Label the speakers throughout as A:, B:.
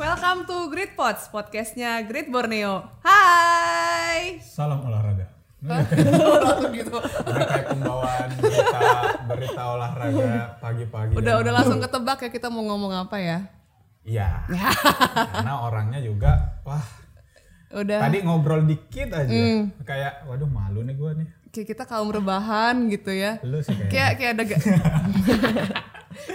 A: Welcome to Great Pods, podcastnya Great Borneo. Hai.
B: Salam olahraga.
A: langsung gitu.
B: Rangkai pembawaan berita, berita olahraga pagi-pagi.
A: Udah udah langsung ketebak ya kita mau ngomong apa ya?
B: Iya. Karena orangnya juga wah.
A: Udah
B: Tadi ngobrol dikit aja
A: Hmm.
B: kayak waduh malu nih gua nih.
A: kayak kita kaum rebahan gitu ya.
B: Lu sih kayak
A: Kayak kayak ada ga-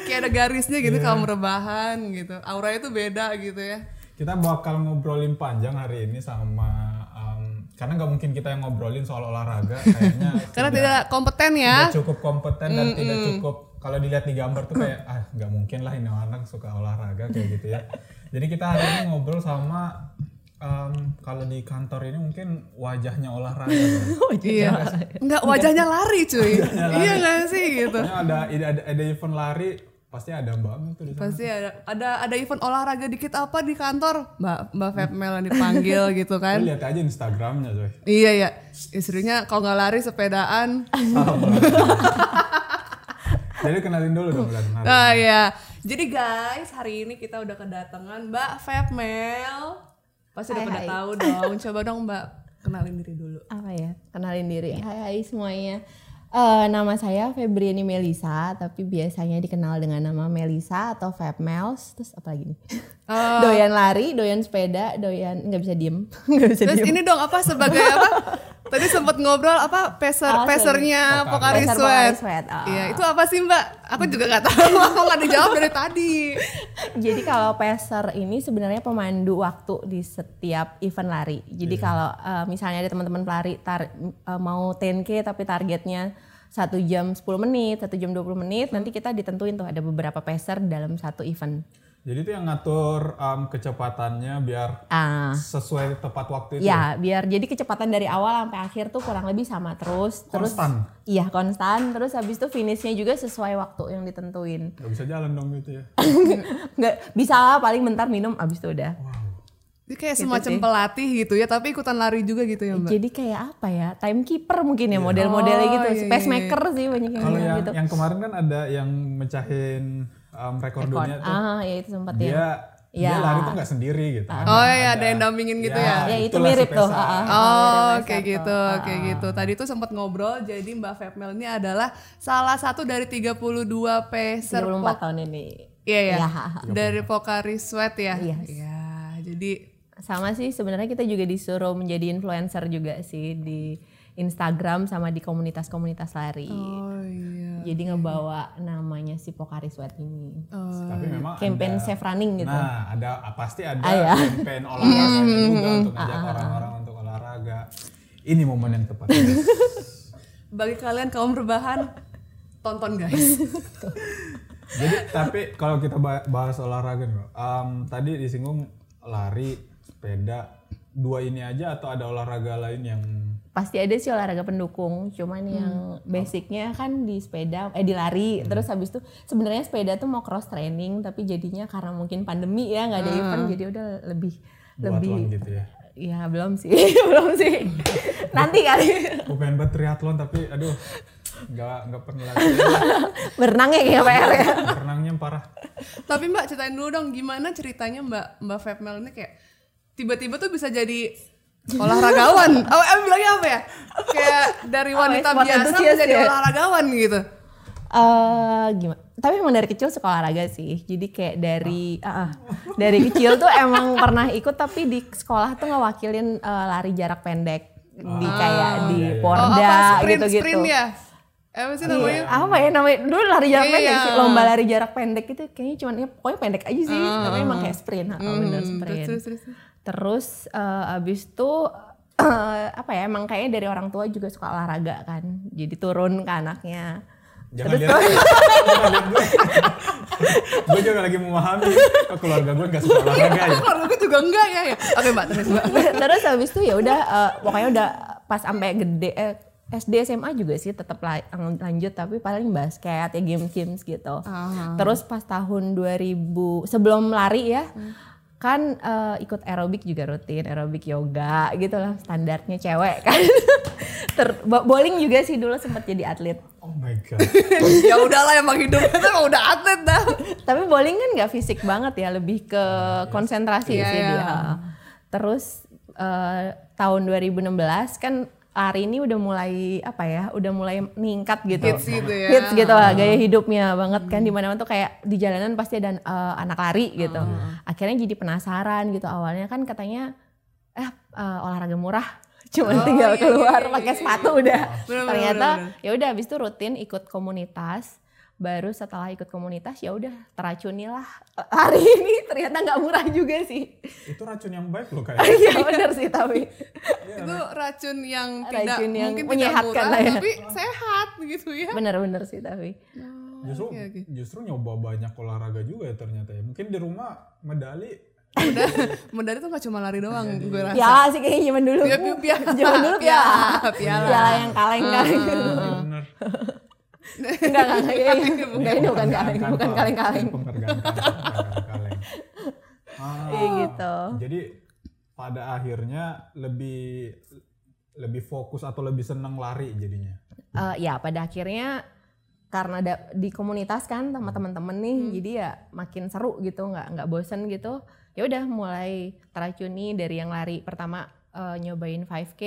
A: kayak ada garisnya gitu kaum rebahan gitu. Auranya tuh beda gitu ya.
B: kita bakal ngobrolin panjang hari ini sama um, karena nggak mungkin kita yang ngobrolin soal olahraga kayaknya
A: Karena tidak kompeten ya.
B: tidak cukup kompeten dan tidak cukup kalau dilihat di gambar tuh kayak ah nggak mungkin lah ini anak suka olahraga kayak gitu ya jadi kita hari ini ngobrol sama em, kalau di kantor ini mungkin wajahnya olahraga
A: Iya. Enggak wajahnya lari cuy. iya nggak sih gitu.
B: Pokoknya ada, ada ada event lari pasti ada mbak Amel tuh di sana.
A: Pasti ada ada ada event olahraga dikit apa di kantor, Mbak Mbak Febmel yang dipanggil gitu kan.
B: Lu lihat aja instagramnya coy
A: Iya ya, istrinya kalau nggak lari sepedaan.
B: jadi kenalin dulu dong bulan hari
A: Ah ya. Jadi guys, hari ini kita udah kedatangan Mbak Febmel. Pasti udah
C: Hai,
A: pada
C: hai.
A: tahu dong. Coba dong Mbak kenalin diri dulu.
C: apa ya kenalin diri hai hai semuanya Eh, nama saya Febriani Melisa tapi biasanya dikenal dengan nama Melisa atau Feb Mels terus apa lagi nih doyan lari doyan sepeda doyan nggak bisa diem nggak bisa
A: Terus
C: diem
A: ini dong apa sebagai apa? Tadi sempat ngobrol apa peser
C: Oh, sorry.
A: pesernya Pokari
C: Peser Pokari
A: Sweat.
C: Sweat, oh.
A: Iya, itu apa sih Mbak? Aku juga nggak tahu. Aku nggak dijawab dari tadi.
C: jadi kalau pacer ini sebenarnya pemandu waktu di setiap event lari jadi kalau eh, misalnya ada teman-teman pelari tar- eh, mau 10k tapi targetnya satu jam 10 menit, satu jam 20 menit, nanti kita ditentuin tuh ada beberapa pacer dalam satu event.
B: jadi itu yang ngatur em, kecepatannya biar
C: Ah.
B: sesuai tepat waktu itu
C: Ya, biar jadi kecepatan dari awal sampai akhir tuh kurang lebih sama terus. Terus
B: Konstan.
C: iya, konstan. Terus habis itu finishnya juga sesuai waktu yang ditentuin.
B: nggak bisa jalan dong gitu ya
C: Nggak bisa lah paling bentar minum abis itu udah.
A: Jadi kayak semacam pelatih gitu ya, tapi ikutan lari juga gitu ya Mbak.
C: Jadi kayak apa ya? Timekeeper mungkin
B: Iya.
C: ya model-modelnya
B: Oh,
C: gitu. Pacemaker sih banyak yang
B: Kalau
C: bilang
B: yang,
C: gitu.
B: yang kemarin kan ada yang mecahin um, rekor dunia tuh,
C: Ah, ya itu sempat ya.
B: dia dia
C: Ya.
B: lari tuh nggak sendiri gitu.
A: Oh iya, ada yang dampingin gitu ya.
C: Ya, Ah. itu
B: itulah si
C: mirip tuh,
B: Pesa.
C: ah, ah.
A: Oh, kayak gitu, kayak gitu. Tadi tuh sempat ngobrol, jadi Mbak Febmel ini adalah salah satu dari 32 peser
C: 34 tahun ini.
A: Iya, ya.
C: Iya.
A: Dari Pokari Sweat ya. Iya. jadi
C: Sama sih sebenarnya kita juga disuruh menjadi influencer juga sih di Instagram sama di komunitas-komunitas lari.
A: Oh iya.
C: jadi ngebawa namanya si Pokari Sweat ini
B: Tapi memang
C: campaign
B: ada,
C: safe running gitu
B: Nah, ada ah, pasti ada
C: Ah, ya.
B: campaign olahraga juga untuk ngajak
C: ah.
B: orang-orang untuk olahraga. Ini momen yang tepat.
A: Bagi kalian kaum rebahan tonton guys.
B: Jadi tapi kalau kita ba- bahas olahraga nih, Bro. Em, tadi disinggung lari, sepeda, dua ini aja atau ada olahraga lain yang
C: pasti ada sih olahraga pendukung cuman yang basicnya kan di sepeda eh di lari terus habis itu sebenarnya sepeda tuh mau cross training tapi jadinya karena mungkin pandemi ya nggak ada event jadi udah lebih
B: buat
C: lebih
B: lo gitu ya?
C: ya belum sih belum sih nanti kali
B: Gue pengen buat triathlon tapi aduh nggak nggak pernah lagi
C: berenangnya kayak PR ya
B: renangnya parah
A: Tapi Mbak ceritain dulu dong gimana ceritanya Mbak Mbak Febmel ini kayak tiba-tiba tuh bisa jadi olahragawan. Oh, eh, bilangnya apa ya? Kayak dari wanita
C: ya, sport
A: biasa
C: enthusiast
A: menjadi
C: ya?
A: olahragawan gitu.
C: eh gimana? Tapi emang dari kecil suka olahraga sih. Jadi kayak dari ah, ah. dari kecil tuh emang pernah ikut tapi di sekolah tuh ngewakilin eh, lari jarak pendek di kayak di
B: iya, iya.
C: Porda
A: Oh, sprint,
C: gitu-gitu.
A: sprint ya? Eh, apa sih namanya?
C: Iya, apa ya namanya dulu lari jarak
A: Iya. Ah,
C: pendek sih lomba lari jarak pendek itu kayaknya cuman ya pokoknya pendek aja sih tapi emang kayak sprint ah, bener sprint
A: Hmm, terus, terus,
C: Terus eh, abis itu apa ya emang kayaknya dari orang tua juga suka olahraga kan. Jadi turun ke anaknya.
B: jangan lihat gue gue juga lagi memahami oh, keluarga gue nggak suka olahraga ya
A: Keluarga gue juga enggak ya. ya. Oke Mbak, terus Mbak.
C: Terus habis itu ya udah eh, pokoknya udah pas sampai gede eh, eh, SD SMA juga sih tetap la- lanjut tapi paling basket ya game games gitu. Terus pas tahun 2000 sebelum lari ya kan eh, ikut aerobik juga rutin aerobik yoga gitu lah standarnya cewek kan. Ter bo- bowling juga sih dulu sempat jadi atlet.
B: Oh my god.
A: ya udahlah emang hidup itu emang udah atlet dah.
C: Tapi bowling kan nggak fisik banget ya, lebih ke konsentrasi
A: Iya,
C: sih
A: iya.
C: dia. Terus eh, tahun 2016 kan lari ini udah mulai apa ya, udah mulai meningkat gitu.
A: Hits gitu ya. Hmm.
C: Hits gitu lah, gaya hidupnya banget kan dimana mana tuh kayak di jalanan pasti ada eh, anak lari gitu. Akhirnya jadi penasaran gitu awalnya kan katanya eh eh, olahraga murah cuman
A: Oh, iya,
C: tinggal keluar
A: iya, iya,
C: pakai
A: iya,
C: sepatu udah
A: Bener,
C: ternyata
A: bener,
C: ya udah habis itu rutin ikut komunitas baru setelah ikut komunitas ya udah teracunilah hari ini ternyata nggak murah juga sih
B: Itu racun yang baik
A: Oh,
B: loh kayaknya.
C: iya bener sih tapi
A: Itu racun yang tidak
C: Racun yang
A: mungkin tidak
C: menyehatkan
A: murah
C: lah ya.
A: tapi sehat gitu ya.
C: bener-bener sih tapi
B: Justru
A: Oke, oke.
B: justru nyoba banyak olahraga juga ya ternyata ya. Mungkin di rumah medali
A: Udah medali tuh gak cuma lari doang
C: Iya,
A: gue rasa.
C: piala Ya sih kayaknya zaman dulu
A: Iya, pi- piala.
C: zaman dulu Iya, piala
A: Piala, piala.
C: piala yang kaleng kan.
A: Hmm,
C: kaleng
A: Ah.
B: bener.
C: enggak enggak iya, enggak
A: Kaleng,
C: enggak ini bukan
B: penghargaan
C: kaleng
B: kantor.
C: bukan kaleng kaleng
B: Ini penghargaan kantor, bukan kaleng. Ah,
C: Iya, gitu.
B: Jadi pada akhirnya lebih lebih fokus atau lebih seneng lari jadinya.
C: Eh, ya pada akhirnya karena ada di komunitas kan sama teman-teman nih jadi ya makin seru gitu nggak nggak bosen gitu ya udah mulai teracuni dari yang lari pertama eh, nyobain 5k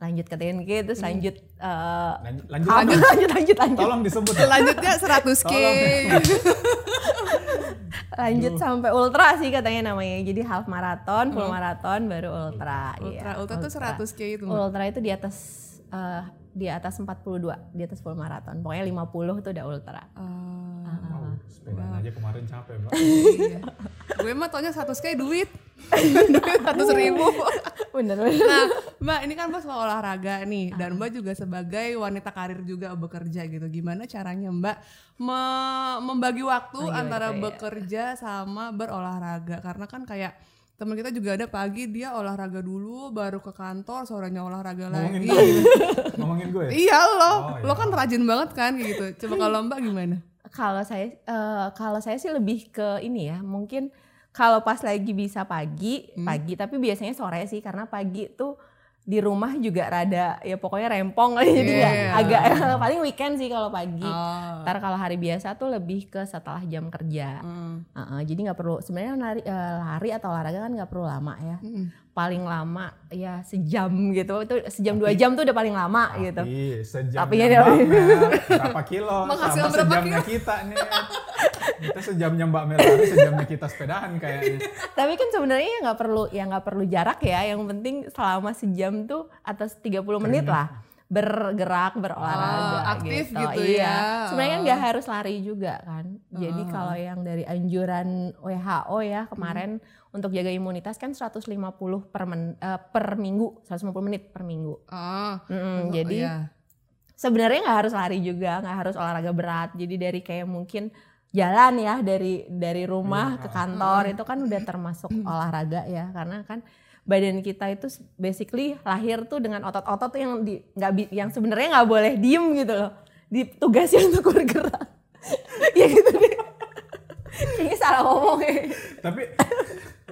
C: lanjut ke 10k terus lanjut eh,
B: Lanjut, lanjut,
C: apa?
B: lanjut.
C: lanjut lanjut lanjut
B: Tolong disebut. ya.
A: Selanjutnya 100k.
C: lanjut sampai ultra sih katanya namanya jadi half marathon full marathon baru ultra Oh.
A: Ultra,
C: iya,
A: ultra tuh 100k itu. Mbak.
C: ultra itu di atas eh, di atas 42 di atas full marathon pokoknya 50 tuh udah ultra
A: Ah,
B: Wow, sepedaan aja kemarin capek mbak.
A: iya. gue mah taunya 100k duit. duit 100 ribu.
C: bener bener
A: Nah, Mbak, ini kan Mbak soal olahraga nih dan Mbak juga sebagai wanita karir juga bekerja gitu. Gimana caranya Mbak me- membagi waktu
B: Oh, iya,
A: antara bekerja sama berolahraga? Karena kan kayak teman kita juga ada pagi dia olahraga dulu baru ke kantor, sorenya olahraga
B: Ngomongin
C: Iya.
A: lagi.
B: gue, ngomongin gue. ya?
A: Iya lo,
B: Oh, iya.
A: lo kan rajin banget kan kayak gitu. Coba kalau Mbak gimana?
C: kalau saya eh, kalau saya sih lebih ke ini ya mungkin kalau pas lagi bisa pagi
A: Hmm.
C: pagi tapi biasanya sore sih karena pagi tuh di rumah juga rada ya pokoknya rempong jadi ya
A: Iya.
C: agak paling weekend sih kalau
B: Iya.
C: pagi
A: Oh.
C: ntar kalau hari biasa tuh lebih ke setelah jam kerja
A: Hmm.
C: Heeh, jadi nggak perlu sebenarnya lari, eh, lari atau olahraga kan nggak perlu lama ya
A: Mm-mm.
C: paling lama ya sejam gitu itu sejam dua jam tuh udah paling lama gitu
B: Tapi sejam
C: Tapi
B: yang
C: ya,
B: Mbak
C: iya.
B: Mel, berapa kilo
A: Menghasilkan
B: sama
A: berapa
B: sejamnya kita nih. Kita sejamnya Mbak Mel lari, sejamnya kita sepedahan kayaknya.
C: Tapi kan sebenarnya ya nggak perlu ya nggak perlu jarak ya. Yang penting selama sejam tuh atau 30 menit lah bergerak berolahraga
A: Ah, Hmm. aktif gitu
C: iya.
A: ya. Hmm.
C: Sebenarnya kan nggak harus lari juga kan. Jadi kalau yang dari anjuran WHO ya kemarin untuk jaga imunitas kan 150 per men- eh, per minggu, 150 menit per minggu.
A: Ah.
C: Mm,
B: Hmm,
A: Oh,
C: jadi
A: iya.
C: sebenarnya nggak harus lari juga nggak harus olahraga berat jadi dari kayak mungkin jalan ya dari dari rumah ke kantor itu kan udah termasuk olahraga ya karena kan badan kita itu s- basically lahir tuh dengan otot-otot tuh yang di nggak bi- yang sebenarnya nggak boleh diem gitu loh ditugasin untuk bergerak ya gitu deh ini salah ngomong ya
B: Tapi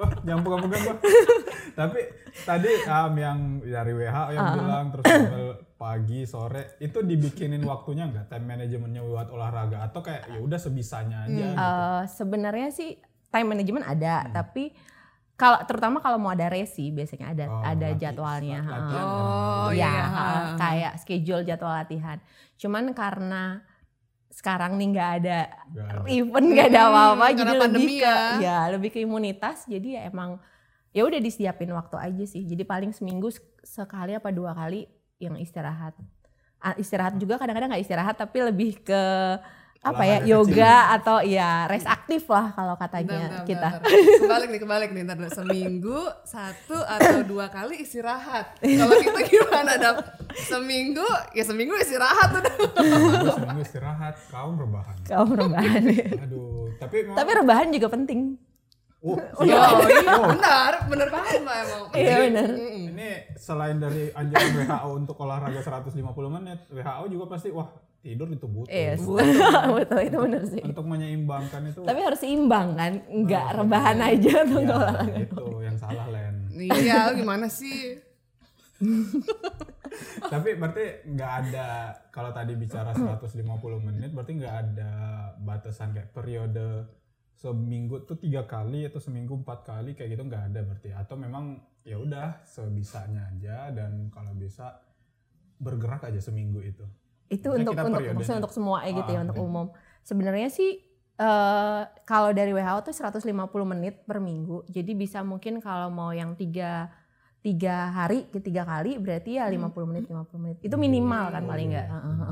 B: wah, jangan pegang-pegang Mbak. Tapi tadi um, yang dari WHO yang bilang terus sambil pagi sore itu dibikinin waktunya nggak time manajemennya buat olahraga atau kayak ya udah sebisanya aja gitu.
C: Eh, sebenarnya sih time management ada tapi kalau terutama kalau mau ada race sih biasanya ada
B: Oh,
C: ada
B: lati-
C: jadwalnya
B: latihan
C: ha.
B: dan-
A: Oh,
C: ya
A: iya.
C: ha, kayak schedule jadwal latihan cuman karena sekarang nih nggak ada
B: Nggak ada.
C: event nggak ada
A: Hmm,
C: apa-apa
A: karena
C: jadi lebih
A: pandemi
C: ke
A: ya.
C: ya lebih ke imunitas jadi ya emang ya udah disiapin waktu aja sih jadi paling seminggu sek- sekali apa dua kali yang istirahat Ah, istirahat juga kadang-kadang nggak istirahat tapi lebih ke apa ya
B: Olahraga
C: yoga atau ya rest aktif lah kalau katanya
A: Bentar, bentar,
C: kita
A: bentar. Kebalik nih, kebalik nih. Ntar dulu. seminggu satu atau dua kali istirahat. Kalau kita gimana dap? Seminggu ya seminggu istirahat udah.
B: Terus Seminggu istirahat, kaum rebahan.
C: kalau rebahan
B: Aduh, tapi memang
C: tapi rebahan juga penting
B: Oh,
A: Iya,
B: iya.
A: iya,
B: Oh,
A: benar, benar banget Mbak emang.
C: Iya benar.
B: Ini selain dari anjuran WHO untuk olahraga 150 menit, WHO juga pasti wah tidur itu butuh.
C: Iya,
B: Untuk-
C: betul itu benar sih.
B: Untuk menyeimbangkan itu.
C: Tapi harus seimbang kan, nggak
B: Nah,
C: rebahan aja atau
B: ya,
C: nggak olahraga.
B: itu yang salah Len.
A: Iya, lu gimana sih?
B: Tapi berarti nggak ada kalau tadi bicara 150 menit berarti nggak ada batasan kayak periode seminggu tuh tiga kali atau seminggu empat kali kayak gitu nggak ada berarti atau memang ya udah sebisanya aja dan kalau bisa bergerak aja seminggu itu.
C: itu
B: Maksudnya Kan
C: untuk
B: kita
C: untuk
B: periodenya.
C: maksudnya untuk semua ya gitu ya
B: Ah,
C: untuk
B: oke.
C: umum. Sebenarnya sih eh kalau dari WHO tuh 150 menit per minggu. Jadi bisa mungkin kalau mau yang tiga tiga hari ke tiga kali berarti ya 50 menit 50 menit. Itu minimal kan
B: Oh,
C: paling
B: iya.
C: enggak.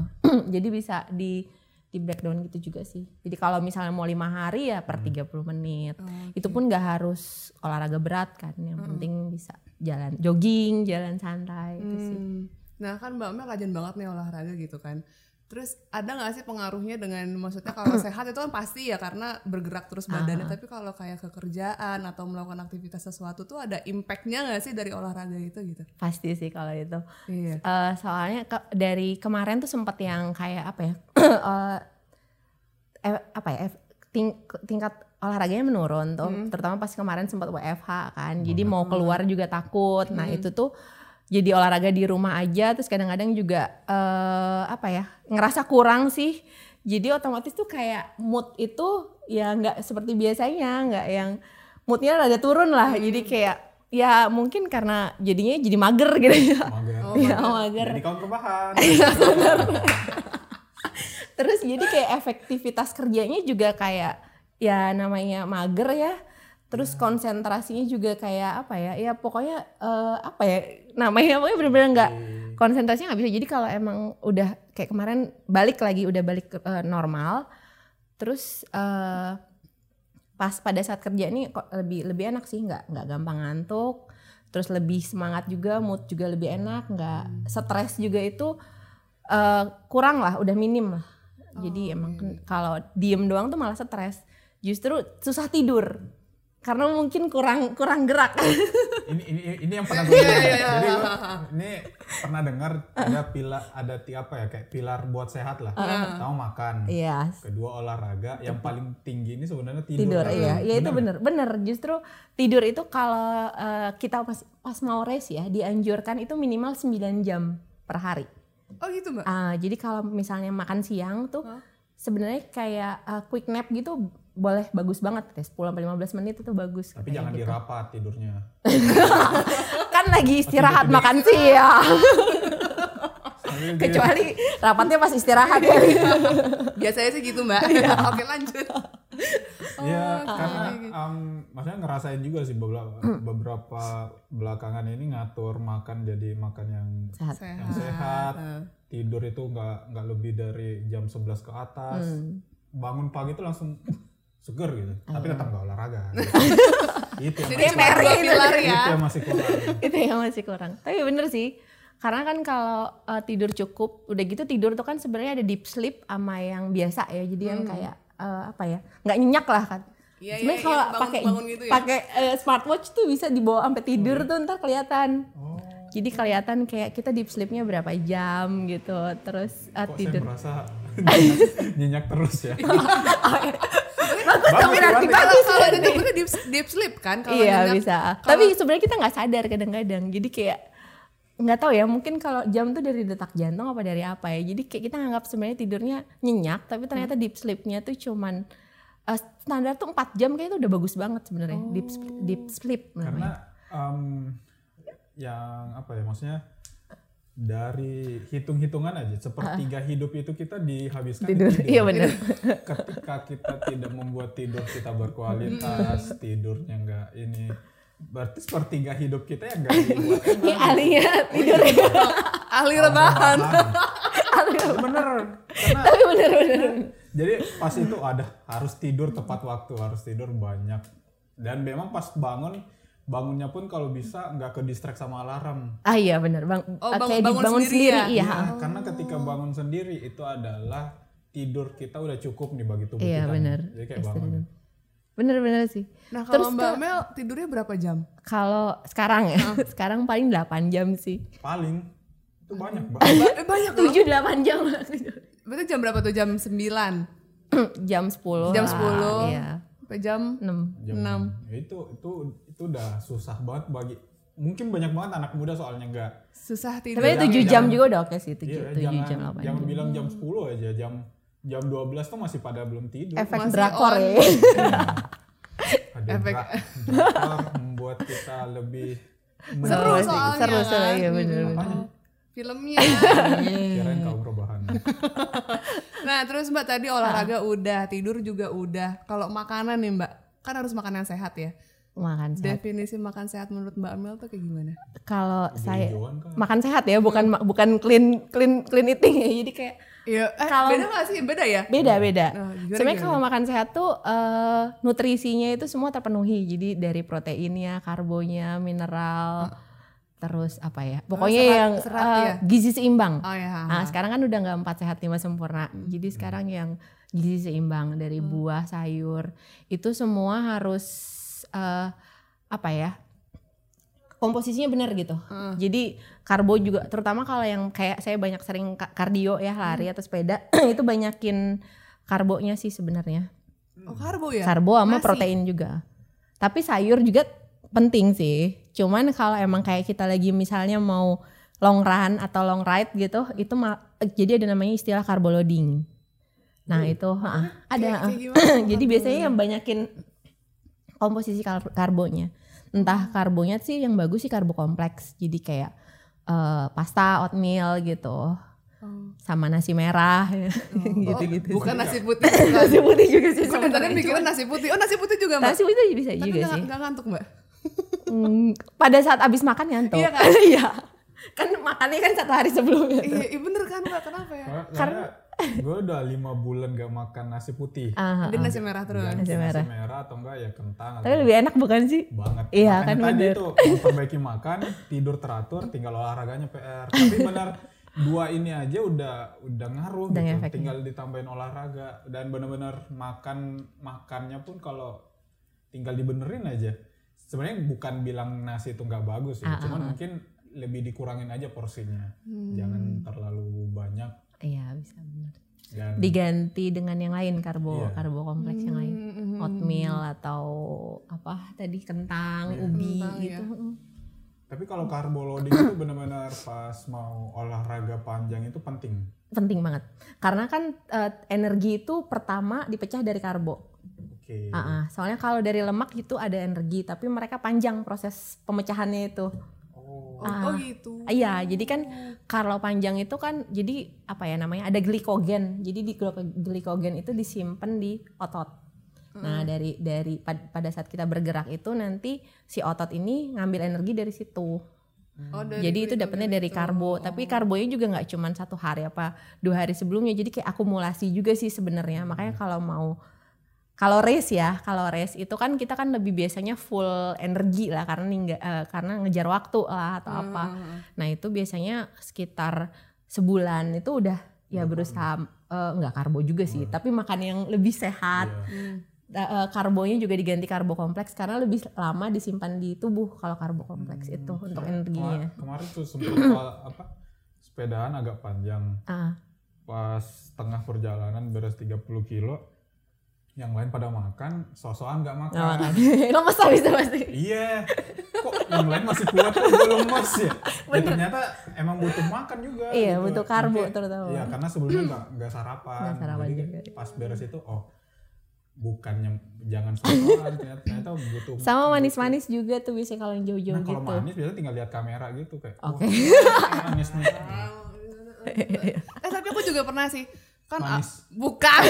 C: Jadi bisa di di breakdown gitu juga sih. Jadi kalau misalnya mau lima hari ya
B: Hmm.
C: per 30 menit. Itu pun nggak harus olahraga berat kan. Yang penting bisa jalan jogging, jalan santai itu Gitu sih.
A: Hmm. Nah kan Mbak Mel rajin banget nih olahraga gitu kan. Terus ada nggak sih pengaruhnya dengan maksudnya kalau sehat itu kan pasti ya karena bergerak terus
C: Ah.
A: badannya. Tapi kalau kayak kekerjaan atau melakukan aktivitas sesuatu tuh ada impactnya nggak sih dari olahraga itu gitu?
C: Pasti sih kalau itu.
A: Iya.
C: Eh, soalnya ke- dari kemarin tuh sempet yang kayak apa ya? eh, eh, apa ya? F- ting- tingkat olahraganya menurun tuh, terutama pas kemarin sempat WFH kan. Jadi mau keluar juga takut. Nah, itu tuh jadi olahraga di rumah aja terus kadang-kadang juga eh apa ya? ngerasa kurang sih. Jadi otomatis tuh kayak mood itu ya nggak seperti biasanya, nggak yang moodnya rada turun lah. Jadi kayak ya mungkin karena jadinya jadi mager gitu ya.
B: Mager.
A: Oh,
C: Iya, mager.
B: Jadi kaum rebahan.
C: Terus jadi kayak efektivitas kerjanya juga kayak ya namanya mager ya. Terus konsentrasinya juga kayak apa ya? Ya pokoknya eh, apa ya? Namanya pokoknya bener-bener nggak konsentrasinya nggak bisa. Jadi kalau emang udah kayak kemarin balik lagi udah balik ke eh, normal. Terus eh, pas pada saat kerja nih kok lebih lebih enak sih nggak nggak gampang ngantuk. Terus lebih semangat juga, mood juga lebih enak, nggak stres juga itu eh, kurang lah, udah minim lah. Jadi emang ken- kalau diem doang tuh malah stres. Justru susah tidur karena mungkin kurang kurang gerak.
B: ini, ini ini yang pernah
A: Iya,
B: gue
A: iya, iya,
B: dengar.
A: iya.
B: Jadi gua- ini pernah dengar ada pilar ada ti apa ya kayak pilar buat sehat lah. Pertama makan,
C: Iya.
B: kedua olahraga, yang paling tinggi ini sebenarnya tidur. kan. eh,
C: tidur iya iya itu
B: bener
C: bener bener justru tidur itu kalau eh, kita pas pas mau race ya dianjurkan itu minimal 9 jam per hari
A: Oh gitu Mbak.
B: Eh.
C: Ah, jadi kalau misalnya makan siang tuh sebenarnya kayak eh, quick nap gitu boleh bagus banget deh 10 sampai 15 menit itu bagus
B: Tapi
C: katanya
B: jangan
C: gitu.
B: dirapat tidurnya.
C: kan lagi istirahat makan siang
B: Iya.
A: Iya,
B: Sambil dia-
C: kecuali rapatnya pas istirahat ya
A: Biasanya sih gitu Mbak. Oke lanjut.
B: Iya,
A: gitu.
B: karena em, maksudnya ngerasain juga sih beberapa,
C: Mm.
B: beberapa belakangan ini ngatur makan jadi makan yang
C: Sehat.
B: yang sehat.
A: Eh,
B: Tidur itu nggak nggak lebih dari jam 11 ke atas.
C: Hmm.
B: Bangun pagi itu langsung uh, seger gitu. Tapi tetap nggak olahraga. itu yang
A: Jadi
B: masih
A: cuma dua pilar
B: itu
A: ya.
B: yang masih kurang.
C: itu yang masih kurang tapi bener sih karena kan kalau uh, tidur cukup udah gitu tidur tuh kan sebenarnya ada deep sleep sama yang biasa ya jadi yang kayak uh, apa ya nggak nyenyak lah kan
A: Hmm. Iya,
C: sebenarnya
A: iya,
C: kalau
A: yang
C: pakai
A: bangun-bangun gitu ya. Hmm.
C: pakai uh, smartwatch tuh bisa dibawa sampai tidur tuh ntar kelihatan
B: Oh,
C: jadi kelihatan kayak kita deep sleepnya berapa jam gitu terus uh,
B: kok saya
C: tidur
B: merasa nyenyak, nyenyak terus ya. Bagus,
A: Berarti
B: bagus.
A: kalau kalau ada namanya deep, deep sleep kan kalau
C: iya
A: nyenyak.
C: bisa tapi sebenarnya kita nggak sadar kadang-kadang jadi kayak nggak tahu ya mungkin kalau jam tuh dari detak jantung apa dari apa ya jadi kayak kita nganggap sebenarnya tidurnya nyenyak tapi ternyata deep sleepnya tuh cuman eh, standar tuh 4 jam kayaknya itu udah bagus banget sebenarnya deep sleep- deep
A: Oh.
C: sleep Nah,
B: karena
C: namanya.
B: em, yang apa ya maksudnya dari hitung-hitungan aja sepertiga hidup itu kita dihabiskan di
C: tidur iya benar
B: ketika kita tidak membuat tidur kita berkualitas tidurnya enggak ini berarti sepertiga hidup kita yang enggak dibuat
C: ini
A: Oh.
C: alinya tidur ya
A: Ahli rebahan.
B: bener karena
C: tapi bener bener
B: jadi pas itu ada harus tidur tepat waktu harus tidur banyak dan memang pas bangun bangunnya pun kalau bisa nggak ke distract sama alarm
C: ah iya bener bang
A: Oh,
C: Oke,
A: bangun-
C: dibangun
A: bangun sendiri
C: sendiri,
A: ya?
C: iya
B: Iya, karena ketika bangun sendiri itu adalah tidur kita udah cukup nih bagi tubuh
C: Iya,
B: kita.
C: benar.
B: Jadi kayak bangun.
C: bener-bener sih.
A: Nah
C: Terus
A: kalau Mbak Mel tidurnya berapa jam?
C: Kalau sekarang ya, sekarang paling 8 jam sih.
B: Paling itu banyak
C: Hmm.
B: mbak.
A: Eh banyak loh.
C: 7 8 jam.
A: Berarti jam berapa tuh? Jam 9?
C: jam 10.
A: Jam
C: lah,
A: 10?
C: Iya.
A: Sampai jam
C: 6.
B: Jam
A: Enam.
B: Ya itu itu itu udah susah banget bagi mungkin banyak banget anak muda soalnya nggak
A: susah tidur.
C: Tapi
B: Iya, Jangan-
C: 7 jam
B: jangan-
C: juga udah oke sih, 7,
B: Iya,
C: 7
B: jangan,
C: jam 8 jam.
B: jangan bilang jam 10 aja jam jam 12 tuh masih pada belum tidur
C: Efek
A: Masih
C: drakor
A: on.
C: ya.
B: ada
A: efek-
B: dra- drakor membuat kita lebih
A: Seru
C: Seru sih,
A: soalnya
C: seru,
A: kan.
C: seru, iya,
A: Mm,
C: bener-bener.
A: oh, Filmnya.
B: kirain kaum rebahan
A: nah terus Mbak tadi
C: Ah.
A: olahraga udah, tidur juga udah. Kalau makanan nih Mbak, kan harus makan yang sehat ya.
C: Makan sehat.
A: Definisi makan sehat menurut Mbak Mel tuh kayak gimana?
C: Kalau saya
B: Hijauan kan
C: makan sehat ya, bukan bukan clean clean clean eating ya. Jadi kayak
A: Iya, eh,
C: Kalau-
A: beda gak sih? Beda ya?
B: Iya.
C: beda-beda.
A: Nah, gimana,
C: Sebenarnya
A: gimana?
C: kalau makan sehat tuh eh, nutrisinya itu semua terpenuhi. Jadi dari proteinnya, karbonya, mineral, terus apa ya? Pokoknya
A: Hmm. Oh, serat-
C: yang
A: serat
C: eh,
A: ya?
C: gizi seimbang.
A: Oh ya.
C: Nah, sekarang kan udah nggak empat sehat lima sempurna. Jadi sekarang yang gizi seimbang dari buah, sayur itu semua harus eh, apa ya? Komposisinya benar gitu. Jadi karbo juga, terutama kalau yang kayak saya banyak sering ka- kardio ya lari atau sepeda itu banyakin karbonya sih sebenarnya.
A: Oh, karbo ya?
C: Karbo sama
A: Nasi.
C: protein juga. Tapi sayur juga penting sih. Cuman kalau emang kayak kita lagi misalnya mau long run atau long ride gitu, itu ma- jadi ada namanya istilah carbo loading. Nah,
A: Hmm.
C: itu ha,
A: Ah, Kayak-
C: ada. ah.
A: kayak gimana?
C: jadi biasanya yang banyakin komposisi kar- karbonya.
A: Hmm.
C: Entah karbonya sih yang bagus sih karbo kompleks. Jadi kayak eh, pasta, oatmeal gitu.
A: Oh.
C: Sama nasi merah
A: Oh,
C: gitu-gitu.
A: bukan
B: sih.
A: nasi putih. bukan.
C: Nasi putih juga sih.
A: Gue
C: sebenarnya.
A: tadi mikirin nasi putih. Oh nasi putih juga mbak.
C: Nasi putih bisa
A: Tapi
C: juga
A: nggak-
C: sih.
A: nggak ngantuk mbak.
C: Hmm, pada saat abis makan ngantuk.
A: Iya kan?
C: Iya. kan makannya kan satu hari sebelumnya.
A: Iya iya bener kan mbak kenapa ya?
B: Karena- karena gue udah lima bulan gak makan nasi putih
C: Ah,
A: Dia nasi merah terus.
B: Ganti
C: Nasi merah.
B: atau enggak ya kentang
C: tapi
B: atau
C: lebih enak bukan sih?
B: banget
C: Iya,
B: Makanya
C: kan
B: tadi
C: bener.
B: itu memperbaiki makan tidur teratur tinggal olahraganya PR tapi benar dua ini aja udah udah ngaruh
C: Udah
B: gitu
C: ngefeknya.
B: tinggal ditambahin olahraga dan benar-benar makan makannya pun kalau tinggal dibenerin aja sebenarnya bukan bilang nasi itu nggak bagus
C: Ah,
B: ya cuman mungkin lebih dikurangin aja porsinya
A: Hmm.
C: Hmm.
B: jangan terlalu banyak
C: Iya bisa benar.
B: dan
C: Diganti dengan yang lain karbo
B: Iya.
C: karbo kompleks yang
A: Hmm,
C: lain. Oatmeal atau apa tadi kentang, ubi
A: Kentang, iya.
C: gitu.
B: tapi kalau carbo loading itu benar-benar pas mau olahraga panjang itu penting
C: Penting banget. Karena kan eh, energi itu pertama dipecah dari karbo.
B: oke
C: Ah, ah. soalnya kalau dari lemak itu ada energi, tapi mereka panjang proses pemecahannya itu.
B: Oh,
A: Oh, oh gitu.
C: Iya, jadi kan kalau panjang itu kan jadi apa ya namanya ada glikogen. Jadi di gliko- glikogen itu disimpan di otot. Nah, dari dari pad- pada saat kita bergerak itu nanti si otot ini ngambil energi dari situ.
A: Oh, dari gitu.
C: jadi itu dapetnya dari
A: Ah,
C: karbo, tapi karbonya juga nggak cuman satu hari apa dua hari sebelumnya. Jadi kayak akumulasi juga sih sebenarnya. Makanya kalau mau kalau race ya, kalau race itu kan kita kan lebih biasanya full energi lah karena ningga- eh, karena ngejar waktu
A: Hmm.
C: lah atau apa.
A: ah,
C: Nah itu biasanya sekitar sebulan itu udah ya berusaha eh, nggak karbo juga sih, tapi makan yang lebih sehat.
B: iya.
A: Hmm.
C: Da- eh, karbonya juga diganti karbo kompleks karena lebih lama disimpan di tubuh kalau karbo kompleks
B: Hmm,
C: itu untuk
B: iya.
C: energinya.
B: Kema- kemarin tuh sempat apa sepedaan agak panjang
C: Ah,
B: pas tengah perjalanan beres 30 kilo yang lain pada makan sosokan nggak makan
C: nggak makan. Lemes habis itu pasti.
B: iya kok yang lain masih kuat kok gue lemes ya Ya ternyata emang butuh makan juga gitu.
C: Iya, butuh karbo
B: Mungkin-
C: terutama.
B: iya karena sebelumnya nggak nggak sarapan,
C: Nggak sarapan
B: Jadi
C: juga. iya.
B: pas beres itu oh bukannya jangan sosokan ternyata, ternyata butuh
C: Sama manis-manis juga tuh biasanya kalau yang jauh-jauh
B: nah kalau
C: gitu.
B: manis biasanya tinggal lihat kamera gitu kayak
C: Oke.
B: wah, manis nih
A: Eh tapi aku juga pernah sih. Kan ah,
B: Manis.
A: bukan.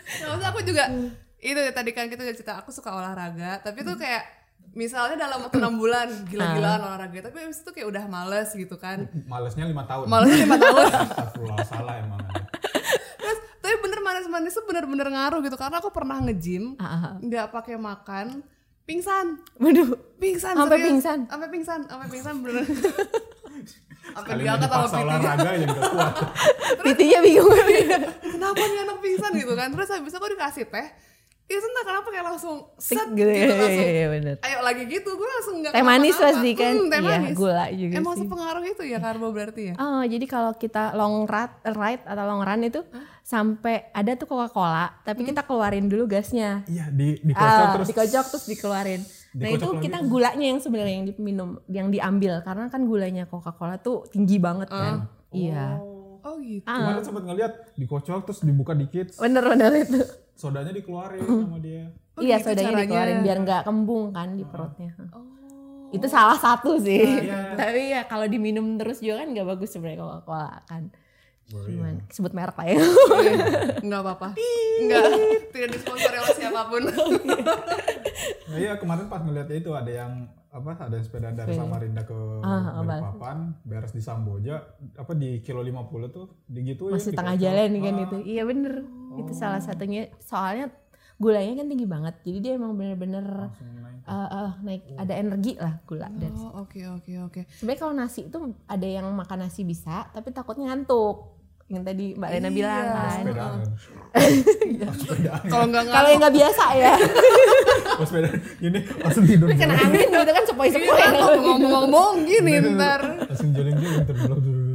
A: Nggak usah aku juga
C: Hmm.
A: itu ya, tadi kan kita udah cerita aku suka olahraga tapi tuh kayak misalnya dalam waktu enam bulan
C: Ah.
A: gila-gilaan olahraga tapi abis itu kayak udah males gitu kan
B: malesnya lima tahun
A: malesnya lima tahun
B: Astagfirullah salah emang.
A: Terus tapi bener manis-manis tuh bener-bener ngaruh gitu karena aku pernah nge-gym
C: Ah, ah.
A: nggak pakai makan pingsan
C: Waduh.
A: pingsan
C: Sampai
A: serius.
C: pingsan?
A: sampai pingsan sampai pingsan bener sampai
B: Kali
A: diangkat sama
B: dipaksa
A: PT
B: olahraga yang gak kuat.
C: Pitinya bingung.
A: kenapa nih anak pingsan gitu kan terus habis itu aku dikasih teh Itu entah kenapa kayak langsung
C: Tik
A: set
C: gitu
A: gitu,
C: ya,
A: langsung.
C: iya, iya, bener.
A: Ayo lagi gitu, gue langsung nggak
C: Teh manis
A: kenapa-napa.
C: pasti kan?
A: Hmm, teh
C: Iya,
A: manis.
C: gula juga
A: Emang
C: sih.
A: sepengaruh itu ya karbo berarti ya?
C: Oh, jadi kalau kita long ride, ride atau long run itu sampai ada tuh Coca-Cola,
A: Hmm?
C: tapi kita keluarin dulu gasnya.
B: Iya di di
C: Ah,
B: terus. Oh.
C: dikocok terus dikeluarin. Nah, itu
B: Dikocok lagi.
C: kita gulanya yang sebenarnya yang diminum, yang diambil karena kan gulanya Coca-Cola tuh tinggi banget kan. Iya.
A: Ah.
C: Ah,
A: Oh gitu.
B: Kemarin sempat ngeliat dikocok terus dibuka dikit,
C: Oh. Bener-bener itu.
B: sodanya dikeluarin sama dia.
A: Oh,
C: iya,
A: gitu
C: sodanya
A: caranya. Oh.
C: dikeluarin biar nggak kembung kan
B: Ah.
C: di perutnya. Itu salah satu sih.
B: iya.
C: Tapi ya kalau diminum terus juga kan nggak bagus sebenarnya Coca-Cola kan.
B: Boleh.
C: Cuman sebut merek lah ya.
A: Enggak iya. apa-apa. Enggak, tidak disponsori oleh siapapun.
B: Nah, iya kemarin pas ngeliatnya itu ada yang apa ada sepeda dari
C: Sepeda.
B: Samarinda ke
C: Ah,
B: Balikpapan, beres di Samboja, apa di kilo 50 tuh digituin.
C: Masih tengah
B: dikocok.
C: jalan kan
B: Ah,
C: itu. Iya bener. Itu salah satunya. Soalnya gulanya kan tinggi banget. Jadi dia emang bener-bener
B: langsung naik.
C: eh, eh, naik ada energi lah gula dan
A: Oh, oke oke oke.
C: sebenarnya kalau nasi itu ada yang makan nasi bisa tapi takutnya ngantuk yang tadi mbak Lena bilang kan
B: Sepedaan. kan.
A: Kalau enggak
C: kalau yang nggak biasa ya
B: Pas sepeda ini langsung tidur.
C: kena angin gitu kan sepoi-sepoi
A: ngomong-ngomong gini
B: dulu.
A: ntar.
B: Langsung jalan-jalan terbelah dulu.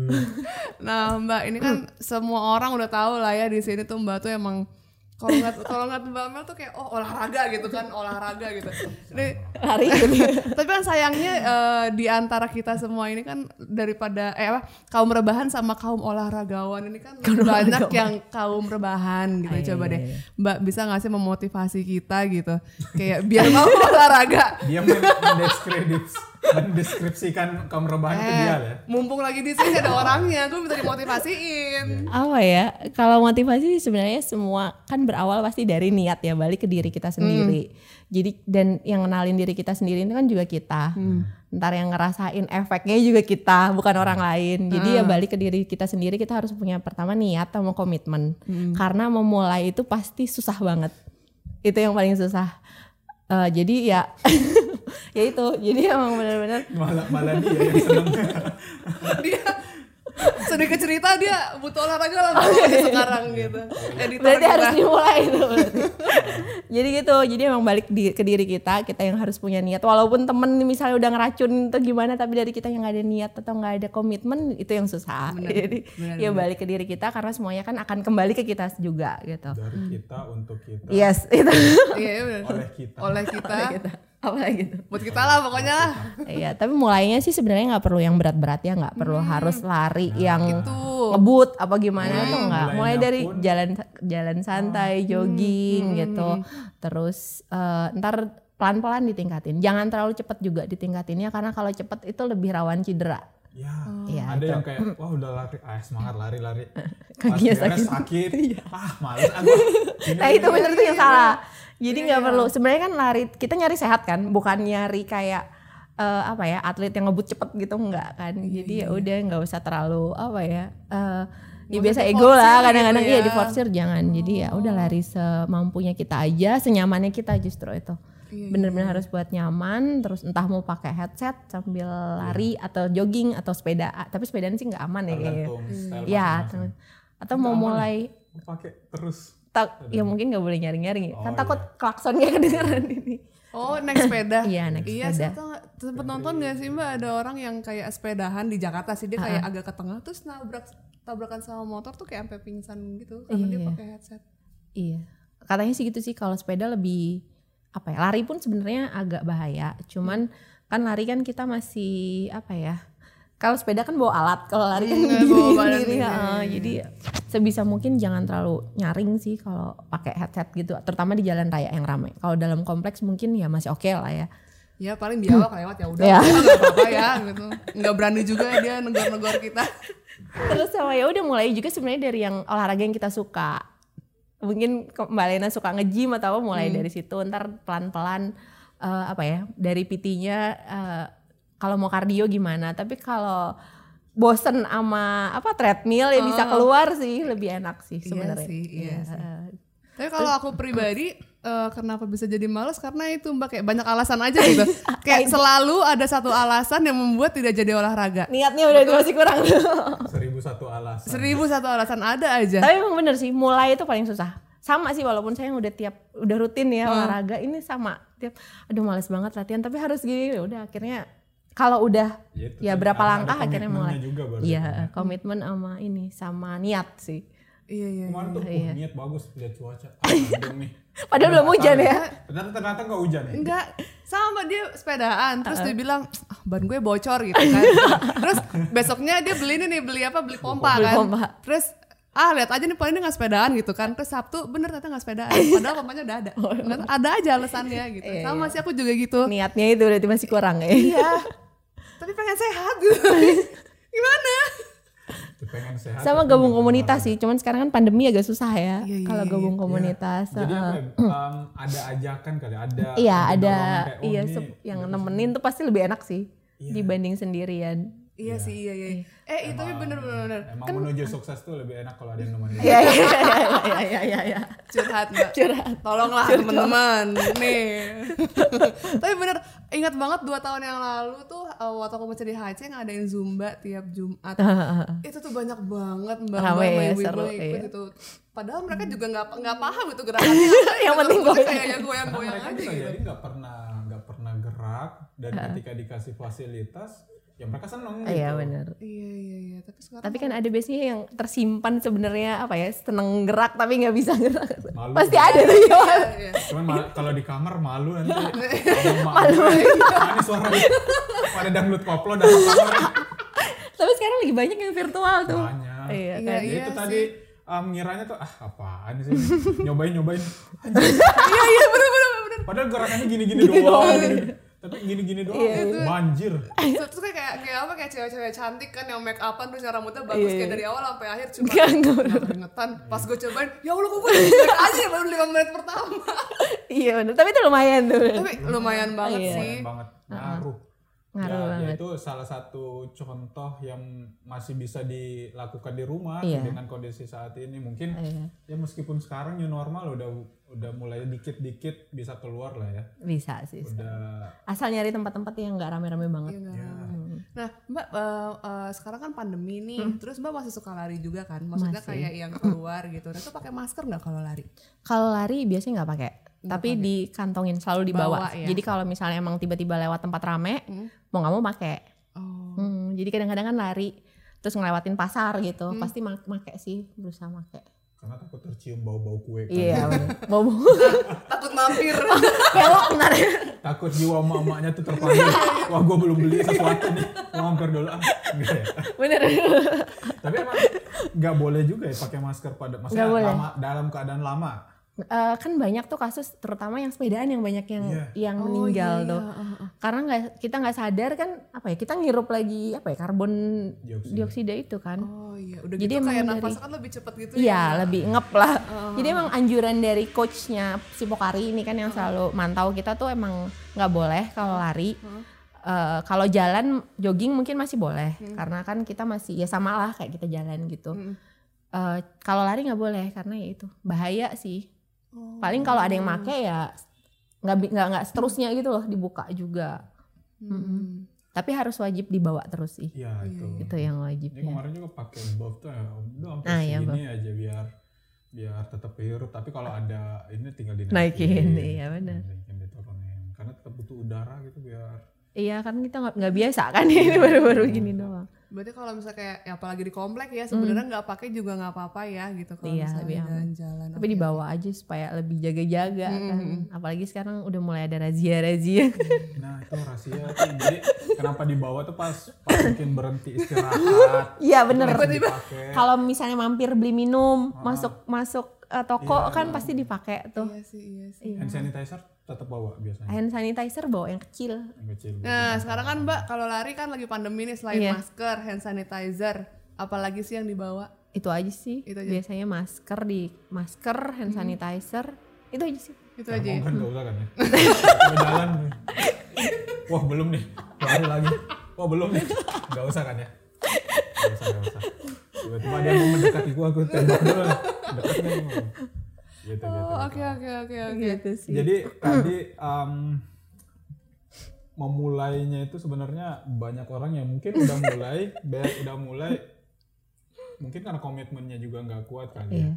A: Nah Mbak ini kan semua orang udah tahu lah ya di sini tuh Mbak tuh emang kalau nggak kalau nggak Mbak Mel tuh kayak oh olahraga gitu kan olahraga gitu. Ini-
C: lari gitu
A: tapi kan sayangnya eh, di antara kita semua ini kan daripada eh apa kaum rebahan sama kaum olahragawan ini kan banyak yang kaum rebahan gitu
C: Iya,
A: coba deh Mbak bisa nggak sih memotivasi kita gitu kayak biar mau olahraga
B: Dia men- mendeskredits- ya, mendeskripsikan kaum rebahan ke dia lah. ya.
A: Eh, mumpung lagi di sini ada orangnya gue minta dimotivasiin
C: apa ya kalau motivasi sih sebenarnya semua kan berawal pasti dari niat ya balik ke diri kita sendiri jadi dan yang kenalin diri kita sendiri itu kan juga kita ntar yang ngerasain efeknya juga kita bukan orang lain jadi ya balik ke diri kita sendiri kita harus punya pertama niat sama komitmen karena memulai itu pasti susah banget itu yang paling susah Eh, jadi ya ya itu jadi emang benar-benar
B: Malah, malah dia yang seneng.
A: dia sedikit cerita dia butuh olahraga langsung aja sekarang gitu editor
C: Oh, iya, berarti harus
A: kita.
C: dimulai itu berarti. jadi gitu jadi emang balik di, ke diri kita kita yang harus punya niat walaupun temen misalnya udah ngeracun atau gimana tapi dari kita yang nggak ada niat atau nggak ada komitmen itu yang susah jadi ya balik ke diri kita karena semuanya kan akan kembali ke kita juga gitu
B: Dari kita untuk kita,
C: yes itu
A: iya iya bener.
B: oleh kita.
A: oleh kita
C: gitu apa gitu
A: buat kita lah pokoknya lah
C: Iya, tapi mulainya sih sebenarnya nggak perlu yang berat-berat ya, nggak perlu harus lari yang
A: itu.
C: ngebut apa gimana tuh nggak.
B: Hmm, mulainya
C: Mulai dari
B: pun. Hmm.
C: jalan jalan santai, jogging gitu, terus eh, ntar pelan-pelan ditingkatin. Jangan terlalu cepat juga ditingkatinnya karena kalau cepat itu lebih rawan cedera.
B: Ya,
C: Iya,
B: ada
C: itu.
B: yang kayak, wah udah lari, ah semangat lari lari.
C: Kakinya Iya.
B: Pas beres sakit. ah males aku. Ini
C: Nah itu bener tuh yang salah. Jadi
A: Iya,
C: nggak perlu. Sebenarnya kan lari kita nyari sehat kan, bukan nyari kayak eh, apa ya atlet yang ngebut cepet gitu nggak kan. Jadi
A: Iya.
C: ya udah nggak usah terlalu apa ya. eh, ya biasa ego
A: diforsir
C: lah
A: gitu
C: kadang-kadang
A: ya. Oh.
C: iya diforsir jangan. Jadi ya udah lari semampunya kita aja, senyamannya kita justru itu.
A: Iya,
C: Bener-bener harus buat nyaman, terus entah mau pakai headset sambil lari
A: Iya.
C: atau jogging atau sepeda. Tapi sepedaan sih nggak aman ya kayaknya.
B: tergantung style
C: Ya,
B: masing-masing.
C: atau mau mulai
B: Aku pakai terus.
C: tak ya mungkin nggak boleh nyaring-nyaring
B: Oh,
C: kan takut
A: iya.
C: klaksonnya kedengeran ini
A: oh naik sepeda
C: Iya, naik
A: iya
C: sepeda.
A: saya tau nggak, sempet nonton gak sih mbak ada orang yang kayak sepedahan di Jakarta sih dia kayak agak ke tengah terus nabrak tabrakan sama motor tuh kayak sampai pingsan gitu karena
C: Iya,
A: dia
C: iya.
A: pakai headset
C: iya katanya sih gitu sih kalau sepeda lebih apa ya lari pun sebenarnya agak bahaya cuman kan lari kan kita masih apa ya kalau sepeda kan bawa alat kalau lari kan
A: Hmm,
C: diri
A: bawa badan
C: sendiri
A: sendiri.
C: heeh. jadi sebisa mungkin jangan terlalu nyaring sih kalau pakai headset gitu terutama di jalan raya yang ramai kalau dalam kompleks mungkin ya masih oke lah ya
A: ya paling biawak lewat ya udah
C: Iya.
A: nggak apa-apa ya gitu nggak berani juga dia negor-negor kita
C: Terus sama ya udah mulai juga sebenarnya dari yang olahraga yang kita suka. Mungkin ke- Mbak Lena suka nge-gym atau apa mulai
A: Hmm.
C: dari situ ntar pelan-pelan eh, apa ya dari PT-nya eh, kalau mau kardio gimana tapi kalau bosen sama apa treadmill ya bisa keluar sih lebih enak sih
A: Oh. Iya
C: sebenarnya.
A: sih, iya
C: Iya,
A: sih.
C: eh,
A: Tapi kalau aku pribadi eh, kenapa bisa jadi males karena itu Mbak kayak banyak alasan aja gitu. kayak selalu ada satu alasan yang membuat tidak jadi olahraga.
C: niatnya udah itu masih kurang. Oh,
B: Seribu satu alasan.
A: Seribu satu alasan ada aja.
C: Iya. tapi emang bener sih mulai itu paling susah. sama sih walaupun saya udah tiap udah rutin ya olahraga ini sama tiap aduh males banget latihan tapi harus gini ya udah akhirnya kalau udah
B: Ya, itu
C: ya
B: tadi,
C: berapa
B: ada
C: langkah akhirnya
B: komitmennya
C: mulai
B: juga berarti. Hmm.
C: iya komitmen sama ini sama niat sih
A: Iya iya.
B: Kemarin tuh
C: Iya.
B: oh, niat bagus lihat cuaca. Ah, mendung nih.
C: Padahal belum hujan ya.
B: Ternyata ternyata nggak hujan. ya?
A: Enggak, sama dia sepedaan terus dia bilang ah, ban gue bocor gitu kan. terus besoknya dia beli ini nih, beli apa? Beli pompa
C: Beli
A: kan.
C: pompa.
A: Terus ah lihat aja nih paling dia nggak sepedaan gitu kan. Terus Sabtu bener ternyata nggak sepedaan. Padahal pompanya udah ada. Nggak tahu, ada aja alasannya gitu.
C: Iya,
A: sama sih aku juga gitu.
C: Niatnya itu berarti masih kurang ya.
A: Iya. Tapi pengen sehat gitu. Gimana?
B: Tuh, pengen sehat.
C: Sama
B: tapi
C: gabung
B: nggak
C: komunitas sih, cuman sekarang kan pandemi agak susah ya
A: Iya, iya,
C: kalau
A: iya.
C: gabung
B: Iya.
C: komunitas.
B: Jadi
C: Heeh. Hmm.
B: apa ya, em, ada ajakan kali, ada
C: Iya ada,
B: dorongan kayak, oh,
C: iya
B: ini Iya.
C: sep- yang nemenin tuh pasti lebih enak sih dibanding sendirian.
A: Iya sih iya iya. Eh itu tapi bener bener bener.
B: Emang menuju sukses tuh lebih enak kalau ada yang nemenin.
C: Kan ah. Iya iya iya iya iya. iya.
A: curhat mbak
C: Curhat.
A: tolonglah teman-teman nih tapi bener ingat banget dua tahun yang lalu tuh eh, waktu aku masih di HC ngadain zumba tiap Jumat itu tuh banyak banget mbak mbak
C: Ramai ya,
A: ibu-ibu
C: seru,
A: yang ikut
C: iya.
A: itu padahal mereka juga nggak nggak paham itu gerakannya Gitu.
C: Yang penting goyang.
A: kayaknya
B: Karena
A: goyang-goyang
B: mereka ya?
A: aja
B: bisa
A: gitu
B: jadi nggak pernah nggak pernah gerak dan ketika dikasih fasilitas, ya mereka seneng gitu.
C: Iya benar.
A: iya iya iya tapi sekarang
C: Tapi kan ada biasanya yang tersimpan sebenarnya apa ya seneng gerak tapi nggak bisa gerak.
B: Malu.
C: Pasti ada tuh ya.
A: iya.
B: Cuman mal- kalau di kamar malu nanti malu. Mana suara pada dangdut koplo dan
C: Tapi sekarang lagi banyak yang virtual tuh.
B: banyak.
C: Iya,
A: Iya,
C: kan.
B: Jadi
A: iya
B: itu
A: sih.
B: tadi em, ngiranya tuh ah apaan sih nyobain nyobain
A: iya iya bener bener bener
B: padahal gerakannya gini-gini doang gini. tapi gini-gini doang banjir
A: terus kayak kayak kayak apa kayak cewek-cewek cantik kan yang make upan terus yang rambutnya bagus
C: Iya,
A: kayak
C: iya.
A: dari awal sampai akhir cuma
C: Nggak, nggak.
A: nggak keringetan pas gue cobain ya allah kok gue jelek aja ya baru lima menit pertama
C: Iya benar. Tapi itu lumayan tuh.
A: tapi lumayan banget
C: Eh, Iya.
A: sih
B: Keren banget ngaruh
C: Ngaruh
B: ya,
C: banget.
B: itu salah satu contoh yang masih bisa dilakukan di rumah
C: Iya.
B: dengan kondisi saat ini mungkin
C: Iya.
B: ya meskipun sekarang new normal udah udah mulai dikit-dikit bisa keluar lah ya
C: Bisa sih.
B: udah ya,
C: Asal nyari tempat-tempat yang nggak rame-rame banget.
A: Iya, nggak rame-rame. Nah, Mbak eh, eh, sekarang kan pandemi nih, terus Mbak masih suka lari juga kan? Maksudnya
C: Hmm. Masih. Hmm.
A: kayak yang keluar gitu. Nah, itu pakai masker nggak kalau lari?
C: Kalau lari biasanya nggak pakai, iya. tapi dikantongin selalu dibawa.
A: Bawa, ya.
C: Jadi kalau misalnya emang tiba-tiba lewat tempat rame,
A: Hmm.
C: mau nggak mau pakai.
A: Oh,
C: Hmm, jadi kadang-kadang kan lari terus ngelewatin pasar gitu, pasti ma- make sih, berusaha make.
B: karena takut tercium bau-bau kue kan.
C: Iya, mau mau
A: takut mampir.
C: belok bentar.
B: takut jiwa emak-emaknya tuh terpanggil wah gue belum beli sesuatu nih gue mampir dulu ah enggak ya
C: Bener.
B: tapi emang nggak boleh juga ya pakai masker pada maksudnya
C: Nggak boleh.
B: lama dalam keadaan lama
C: Eh, kan banyak tuh kasus terutama yang sepedaan yang banyak yang
B: Iya.
C: yang
A: Oh,
C: meninggal
A: iya,
C: tuh.
A: iya, oh, oh.
C: Karena nggak kita nggak sadar kan apa ya kita ngirup lagi apa ya karbon
B: Dioksida.
C: dioksida itu kan.
A: Oh iya, udah gitu
C: Jadi emang
A: kayak
C: dari-
A: nafasnya kan lebih cepat gitu
C: Iya,
A: ya. Oh.
C: lebih ngep lah. Jadi emang anjuran dari coachnya si Pokari ini kan yang selalu mantau kita tuh emang nggak boleh kalau lari. Eh, kalau jalan jogging mungkin masih boleh
A: Hmm.
C: karena kan kita masih ya sama lah kayak kita jalan gitu.
A: Mm.
C: Eh, kalau lari nggak boleh karena ya itu bahaya sih.
A: Oh.
C: Paling kalau ada yang make ya nggak bi- nggak nggak seterusnya gitu loh dibuka juga.
A: Hmm.
C: Tapi harus wajib dibawa terus sih.
B: ya itu
C: Iya, Itu yang
B: Ini
C: wajibnya.
B: kemarin juga pakai buff tuh ya, udah sampai
C: Nah, iya,
B: segini aja biar biar tetap hirup. Tapi kalau ada ini tinggal dinaikin.
C: Naikin, iya benar.
B: Dinaikin, diturunin. Karena tetap butuh udara gitu biar.
C: Iya kan kita nggak nggak biasa kan
A: Iya,
C: ini baru-baru gini doang.
A: Berarti kalau misalnya kayak ya apalagi di komplek ya sebenarnya nggak pakai juga nggak apa-apa ya gitu kalau
C: Hmm. Iya, lebih
A: misalnya
C: aman.
A: jalan-jalan.
C: tapi
A: Oke.
C: dibawa aja supaya lebih jaga-jaga kan
A: Mm.
C: apalagi sekarang udah mulai ada razia-razia
B: Nah itu rahasia. tuh. Jadi kenapa dibawa tuh pas, pas mungkin berhenti istirahat.
C: iya bener
B: Langsung dipakai.
C: kalau misalnya mampir beli minum masuk masuk eh, toko kan pasti dipakai tuh
A: Ah. Iya sih, iya sih.
B: Hand sanitizer tetap bawa biasanya.
C: hand sanitizer bawa yang kecil
B: Yang kecil.
A: Nah, sekarang kan Mbak kalau lari kan lagi pandemi nih selain
C: Iya.
A: masker, hand sanitizer, apalagi sih yang dibawa?
C: itu aja sih
A: Itu aja.
C: biasanya masker di masker hand sanitizer itu aja sih
A: Itu aja. ya?
B: Termogan nggak usah kan ya. Mau jalan. Wah belum nih. Lari lagi. Wah belum nih. Gak usah kan ya. Gak usah, gak usah. Tiba-tiba dia mau mendekati gua, aku tembak dulu. Dekat nih. Gitu, gitu.
A: Oh,
B: gitu.
A: oke oke oke oke.
C: gitu sih
B: Jadi
A: Iya.
B: tadi em, memulainya itu sebenarnya banyak orang yang mungkin udah mulai, be- udah
A: Iya.
B: mulai mungkin karena komitmennya juga nggak kuat kali ya. kan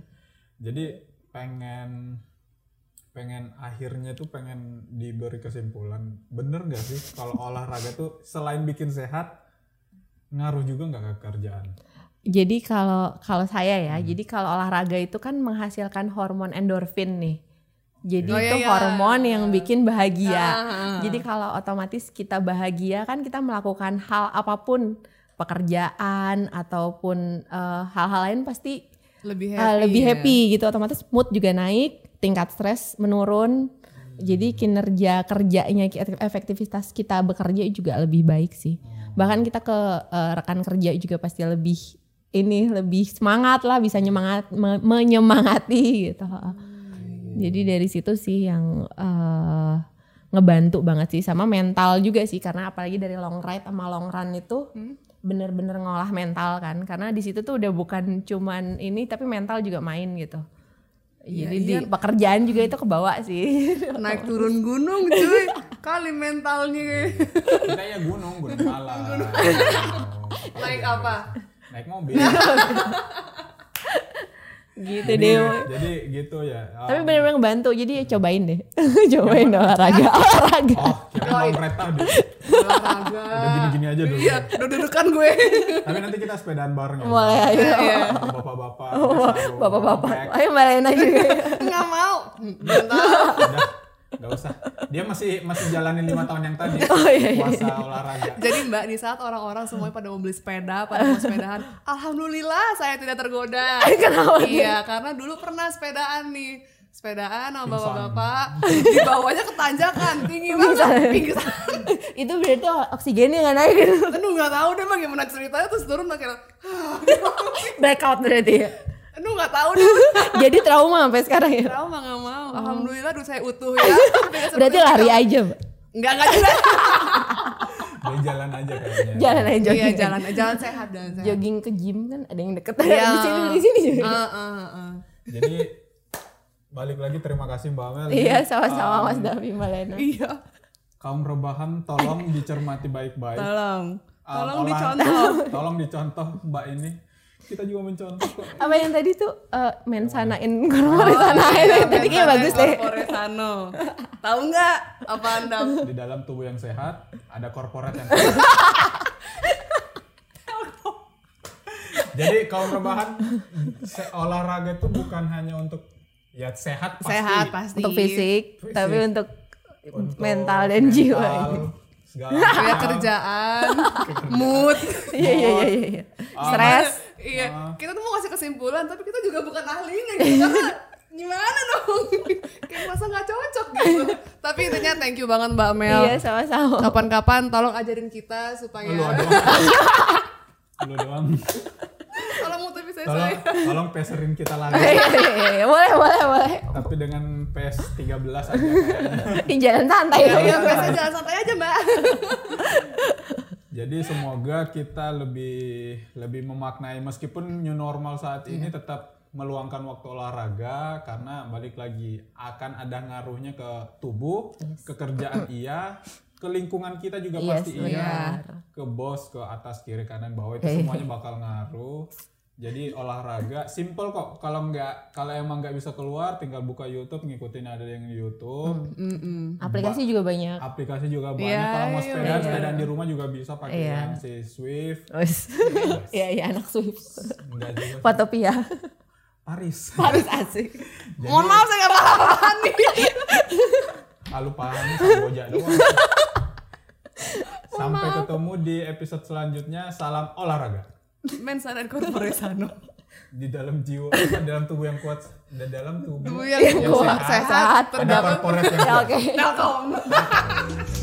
B: Jadi pengen pengen akhirnya tuh pengen diberi kesimpulan bener nggak sih kalau olahraga tuh selain bikin sehat ngaruh juga nggak ke kerjaan
C: Jadi kalau kalau saya
A: Hmm.
C: ya, jadi kalau olahraga itu kan menghasilkan hormon endorfin nih. Jadi
A: Oh,
C: itu
A: iya, iya.
C: hormon yang bikin bahagia.
A: Ah.
C: Jadi kalau otomatis kita bahagia kan kita melakukan hal apapun, pekerjaan ataupun eh, hal-hal lain pasti
A: lebih
C: eh,
A: happy,
C: lebih
A: ya.
C: happy gitu. Otomatis mood juga naik, tingkat stres menurun. Jadi kinerja kerjanya, efektivitas kita bekerja juga lebih baik sih. Bahkan kita ke eh, rekan kerja juga pasti lebih ini lebih semangat lah, bisa nyemangat me- menyemangati gitu.
A: Iya.
C: Jadi dari situ sih yang eh, ngebantu banget sih sama mental juga sih karena apalagi dari long ride sama long run itu bener-bener ngolah mental kan karena di situ tuh udah bukan cuman ini tapi mental juga main gitu.
A: Iya,
C: Jadi
A: iya.
C: di pekerjaan juga itu kebawa sih.
A: naik turun gunung cuy kali mentalnya
B: kita ya gunung gunung malam
A: Naik apa?
B: naik mobil
C: gitu
B: jadi,
C: deh.
B: jadi gitu ya Um,
C: Tapi bener-bener ngebantu. Jadi ya cobain deh. cobain olahraga, olahraga.
B: oh kira mau kereta dulu
A: olahraga
B: udah gini-gini aja dulu
A: iya duduk-dudukan gue
B: tapi nanti kita sepedaan bareng ya
C: Mulai ayo.
A: Iya.
B: Sama bapak-bapak sama
C: Bapak-bapak.
B: Jack.
C: Ayo Mbak Lena juga.
A: nggak mau mental
B: udah nggak usah dia masih masih jalanin lima tahun yang tadi
C: Oh, iya, iya.
B: puasa olahraga
A: Jadi Mbak di saat orang-orang semuanya pada mau beli sepeda, pada mau sepedahan, alhamdulillah saya tidak tergoda.
C: Kenapa tuh?
A: Iya, karena dulu pernah sepedaan nih. Sepedaan sama
B: Pingsan.
A: bapak-bapak, di bawahnya ketanjakan, tinggi banget, pingsan.
C: Itu berarti oksigennya nggak naik.
A: Aduh nggak tahu deh bagaimana ceritanya terus turun makin,
C: Blackout berarti ya.
A: aduh nggak tahu deh.
C: Jadi trauma sampai sekarang ya.
A: Trauma nggak mau. Alhamdulillah duh saya utuh ya.
C: Berarti lari aja. Mbak.
A: Nggak nggak juga.
B: dia jalan aja kayaknya
C: Jalan aja jogging.
A: Iya jalan jalan sehat dan sehat.
C: Jogging ke gym kan ada yang deket.
A: Iya.
C: di sini di sini juga.
A: Ah, ah, ah.
B: jadi balik lagi terima kasih mbak Mel Ah,
C: Iya sama-sama Mas Davi Mbak Lena.
A: Iya.
B: kaum rebahan tolong dicermati baik-baik
A: Tolong.
B: Um,
A: Tolong
B: olah-
A: dicontoh.
B: tolong dicontoh mbak ini kita juga mencontoh kok
C: Apa yang tadi tuh eh, mensanain
A: Oh,
C: korporisanain. Tadi kayak bagus deh.
A: Corporetano. Iya, Tahu nggak apa Anda?
B: di dalam tubuh yang sehat ada korporat yang jadi kaum rebahan se- olahraga itu bukan hanya untuk ya sehat pasti
A: Sehat pasti.
C: Untuk fisik,
B: Fisik.
C: tapi untuk,
B: Untuk
C: mental dan jiwa.
B: mental, segala
A: Ya
B: hal.
A: kerjaan, mood.
C: Iya iya iya iya, iya. Stres.
A: Iya, kita tuh mau kasih kesimpulan tapi kita juga bukan ahlinya gitu. Karena gimana dong? Kayak masa nggak cocok gitu. tapi intinya thank you banget Mbak Mel.
C: Iya sama-sama.
A: Kapan-kapan tolong ajarin kita
C: ya.
A: supaya
B: lu doang lu doang
A: tolong motivasi saya.
B: tolong
A: saya.
B: tolong peserin kita lagi
C: Iya, iya, iya. boleh boleh boleh.
B: tapi dengan PS 13 aja kayaknya.
C: Di jalan santai.
A: Iya, iya, biasanya jalan santai aja Mbak.
B: Jadi semoga kita lebih lebih memaknai meskipun new normal saat ini
C: Iya.
B: tetap meluangkan waktu olahraga karena balik lagi akan ada ngaruhnya ke tubuh, ke kerjaan iya, ke lingkungan kita juga
C: Yes,
B: pasti iya,
C: benar.
B: ke bos, ke atas, kiri, kanan, bawah itu semuanya bakal ngaruh. Jadi olahraga simple kok. Kalau nggak kalau emang nggak bisa keluar tinggal buka YouTube ngikutin ada yang di YouTube
C: Mm.
A: Mm-mm.
C: Aplikasi juga banyak.
B: aplikasi juga banyak.
A: Iya,
B: Kalau mau
A: iya,
B: sepeda, sepedaan di rumah juga bisa pakai
C: Iya.
B: yang si Swift.
C: Wes. Iya iya anak Swift.
B: Enggak juga.
C: Patopia.
B: Paris.
C: Paris asik.
B: Jadi,
A: Mohon maaf saya nggak paham nih.
B: ah, lupa ini sama Boja doang. Sampai ketemu di episode selanjutnya. Salam olahraga.
A: Mensaran Corporesano.
B: Di dalam jiwa, apa, dalam tubuh yang kuat. Di dalam tubuh,
A: Tubuh yang kuat, sehat,
B: Ada
A: terdapat
B: korporat yang
C: Ya
B: kuat.
C: oke.
A: Telkom.